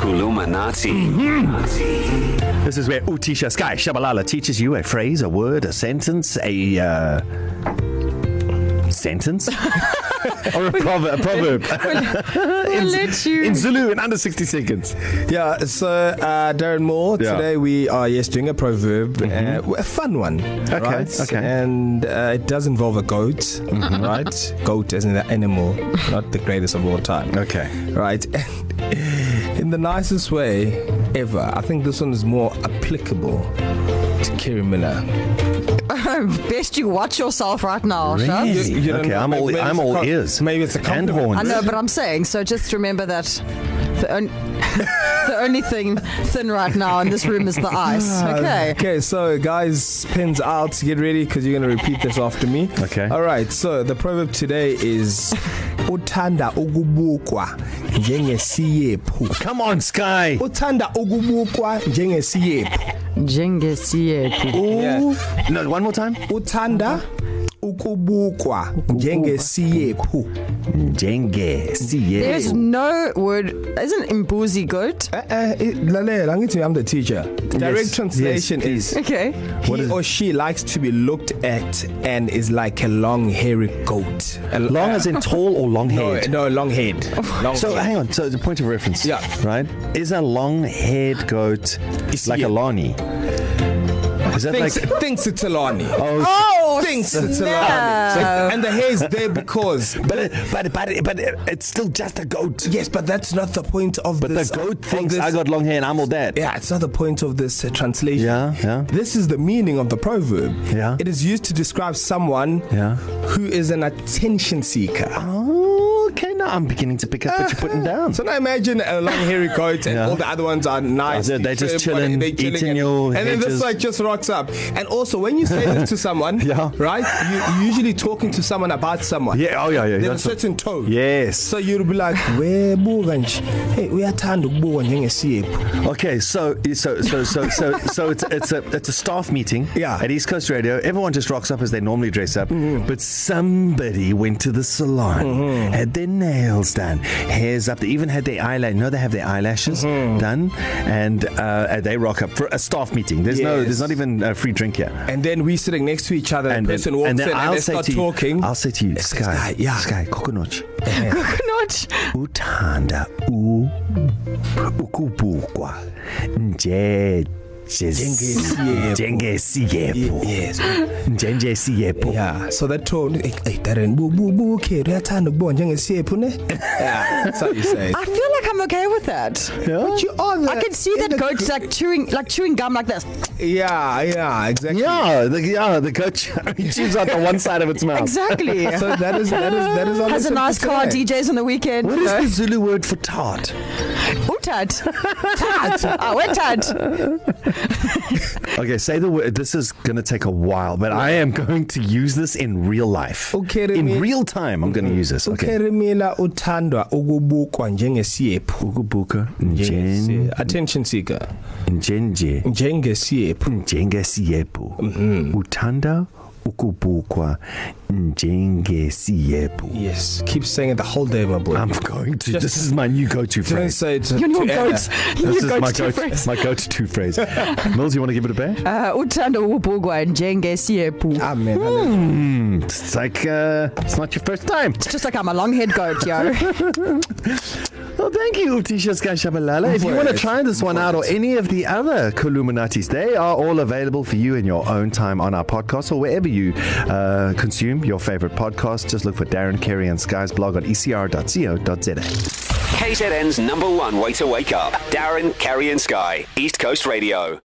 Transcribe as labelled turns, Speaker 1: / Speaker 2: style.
Speaker 1: Illuminati.
Speaker 2: Mm-hmm. This is where Utisha Sky Shabalala teaches you a phrase, a word, a sentence, a uh, sentence, or a proverb. A proverb.
Speaker 3: We'll let you.
Speaker 2: in Zulu in under 60 seconds.
Speaker 4: Yeah, so uh, Darren Moore,
Speaker 2: Yeah.
Speaker 4: yeah. today we are yes doing a proverb, mm-hmm. uh, a fun one. Okay, right?
Speaker 2: okay.
Speaker 4: And uh, it does involve a goat, mm-hmm. right? Goat as an animal, not the greatest of all time.
Speaker 2: Okay.
Speaker 4: Right. In the nicest way ever, I think this one is more applicable to Kerry Miller.
Speaker 3: Best you watch yourself right now, Shah.
Speaker 2: Really?
Speaker 4: You- you don't
Speaker 2: okay,
Speaker 4: know,
Speaker 2: I'm all e-
Speaker 4: maybe
Speaker 2: I'm
Speaker 4: it's a
Speaker 2: all
Speaker 4: com-
Speaker 2: ears.
Speaker 4: maybe it's a
Speaker 2: and
Speaker 4: compliment.
Speaker 2: horns.
Speaker 3: I know, but I'm saying so. Just remember that the, on- the only thing thin right now in this room is the ice. Okay.
Speaker 4: Ah, Uh, Okay, so guys, pins out. Get ready because you're going to repeat this after me.
Speaker 2: Okay.
Speaker 4: All right, so the proverb today is Uthanda ukubukwa njengesiyephu.
Speaker 2: Come on, Sky.
Speaker 4: Uthanda ukubukwa njengesiyephu.
Speaker 3: Jengesiye.
Speaker 2: Ooh.
Speaker 4: Yeah.
Speaker 2: No, one more time.
Speaker 4: Uthanda ukubukwa njengesiyephu.
Speaker 2: Jenge. Siye.
Speaker 3: There's no word. Isn't imbuzi goat?
Speaker 4: Eh eh eh, lalela ngithi I'm the teacher.
Speaker 2: Yes,
Speaker 4: Direct yes, translation
Speaker 2: yes,
Speaker 4: yes, is
Speaker 3: Okay.
Speaker 4: What he or she likes to be looked at and is like a long hairy goat. A,
Speaker 2: Long as in tall or long
Speaker 4: no,
Speaker 2: haired.
Speaker 4: no, long head. uh, Long
Speaker 2: So
Speaker 4: head.
Speaker 2: hang on. So the point of reference.
Speaker 4: Yeah.
Speaker 2: Right. Is a long-haired goat
Speaker 4: Is
Speaker 2: like
Speaker 4: he-
Speaker 2: a lani? Is that
Speaker 4: thinks,
Speaker 2: like?
Speaker 4: like, thinks it's a Lani.
Speaker 2: Oh.
Speaker 3: Oh,
Speaker 4: Thinks it's a Lani.
Speaker 3: snap.
Speaker 4: And the hair is there because.
Speaker 2: But but but but it's still just a goat.
Speaker 4: yes, but that's not the point of
Speaker 2: But
Speaker 4: this.
Speaker 2: the goat
Speaker 4: of
Speaker 2: thinks
Speaker 4: this,
Speaker 2: I got long hair and I'm all that.
Speaker 4: Yeah, it's not the point of this uh, translation.
Speaker 2: Yeah, yeah.
Speaker 4: This is the meaning of the proverb.
Speaker 2: Yeah.
Speaker 4: It is used to describe someone
Speaker 2: Yeah.
Speaker 4: who is an attention seeker.
Speaker 2: Oh, okay, now I'm beginning to pick up what you're putting down.
Speaker 4: So now imagine a long hairy goat and
Speaker 2: Yeah.
Speaker 4: yeah. all the other ones are nice.
Speaker 2: Yeah, they're just
Speaker 4: trim,
Speaker 2: chilling,
Speaker 4: they're
Speaker 2: eating
Speaker 4: and,
Speaker 2: your
Speaker 4: And then
Speaker 2: hedges.
Speaker 4: this like just rocks up. And also when you say this to someone,
Speaker 2: Yeah.
Speaker 4: right, you, you're usually talking to someone about someone.
Speaker 2: Yeah, oh yeah, yeah.
Speaker 4: There's a
Speaker 2: that's what-
Speaker 4: certain tone.
Speaker 2: Yes.
Speaker 4: So you'll be like, webuka nje. Hey, uyathanda ukubukwa njengesiyephu.
Speaker 2: Okay, so so so so so so it's it's a it's a staff meeting
Speaker 4: Yeah.
Speaker 2: at East Coast Radio. Everyone just rocks up as they normally dress up, mm-hmm. but somebody went to the salon, mm-hmm. had their nails done, hairs up. They even had their eyelash. No, they have their eyelashes mm-hmm. done, and uh, and they rock up for a staff meeting. There's yes. no
Speaker 4: Yes.
Speaker 2: there's not even a free drink here.
Speaker 4: And then we sitting next to each other and the person walks
Speaker 2: and
Speaker 4: and
Speaker 2: then
Speaker 4: in and
Speaker 2: I'll
Speaker 4: they
Speaker 2: say
Speaker 4: start
Speaker 2: to you,
Speaker 4: talking.
Speaker 2: I'll say to you, Sky, Sky,
Speaker 4: Sky, yeah.
Speaker 2: Sky, coconut.
Speaker 3: Coconut.
Speaker 2: uthanda u ukubukwa nje
Speaker 4: Njengesiyephu.
Speaker 2: njengesiyepho
Speaker 4: Yes.
Speaker 2: njengesiyepho
Speaker 4: Yeah. So that tone, hey, hey Darren, bu bu bu kid, uyathanda ukubukwa njengesiyephu ne? Yeah. That's how you say it.
Speaker 3: I feel like I'm okay with that.
Speaker 2: Yeah.
Speaker 4: But you are the,
Speaker 3: I can see
Speaker 4: in
Speaker 3: that
Speaker 4: the
Speaker 3: goat's
Speaker 4: cr-
Speaker 3: like chewing, like chewing gum like this.
Speaker 4: Yeah, yeah, exactly.
Speaker 2: Yeah, the, yeah, the coach chews out the one side of its mouth.
Speaker 3: Exactly.
Speaker 4: So that is that is that is on
Speaker 3: Has
Speaker 4: the
Speaker 3: a nice
Speaker 4: simple
Speaker 3: car,
Speaker 4: today.
Speaker 3: DJs on the weekend.
Speaker 2: What
Speaker 3: you
Speaker 2: is
Speaker 3: know.
Speaker 2: the Zulu word for tart?
Speaker 3: Utad. Tad. Ah, we're tad.
Speaker 2: Okay, say the word. This is going to take a while, but I am going to use this in real life.
Speaker 4: Okay,
Speaker 2: In
Speaker 4: Remy.
Speaker 2: real time, I'm going to use this. Okay.
Speaker 4: Ukerimila uthandwa ukubukwa njengesiyephu.
Speaker 2: Ukubuka njen
Speaker 4: Attention seeker.
Speaker 2: njenje.
Speaker 4: Njengesiyephu.
Speaker 2: njengesiyephu mm-hmm. uthanda ukubukwa njengesiyephu
Speaker 4: Yes. Keep saying it the whole day, my boy.
Speaker 2: I'm
Speaker 4: Um,
Speaker 2: going to
Speaker 4: Just-
Speaker 2: this is my new go-to
Speaker 4: Didn't
Speaker 2: phrase
Speaker 4: say it.
Speaker 3: Your new
Speaker 4: to Anna.
Speaker 3: goats. Your
Speaker 2: this is my
Speaker 3: goats.
Speaker 2: go-to my go-to phrase Mills you want to give it a bash
Speaker 3: Uh, uthanda ubugwa njengesiyephu.
Speaker 4: Amen. Mm.
Speaker 2: mm, it's like uh, it's not your first time
Speaker 3: It's just like I'm a long-haired goat, yo.
Speaker 2: well thank you Tisha Skashabalala if you want to
Speaker 4: Wait,
Speaker 2: try this one out or any of the other Columinatis they are all available for you in your own time on our podcast or wherever you uh, consume your favorite podcast just look for Darren Carey and Sky's blog on E ecr.co.za
Speaker 1: KZN's number one way to wake up. Darren, Kerry, and Sky. East Coast Radio.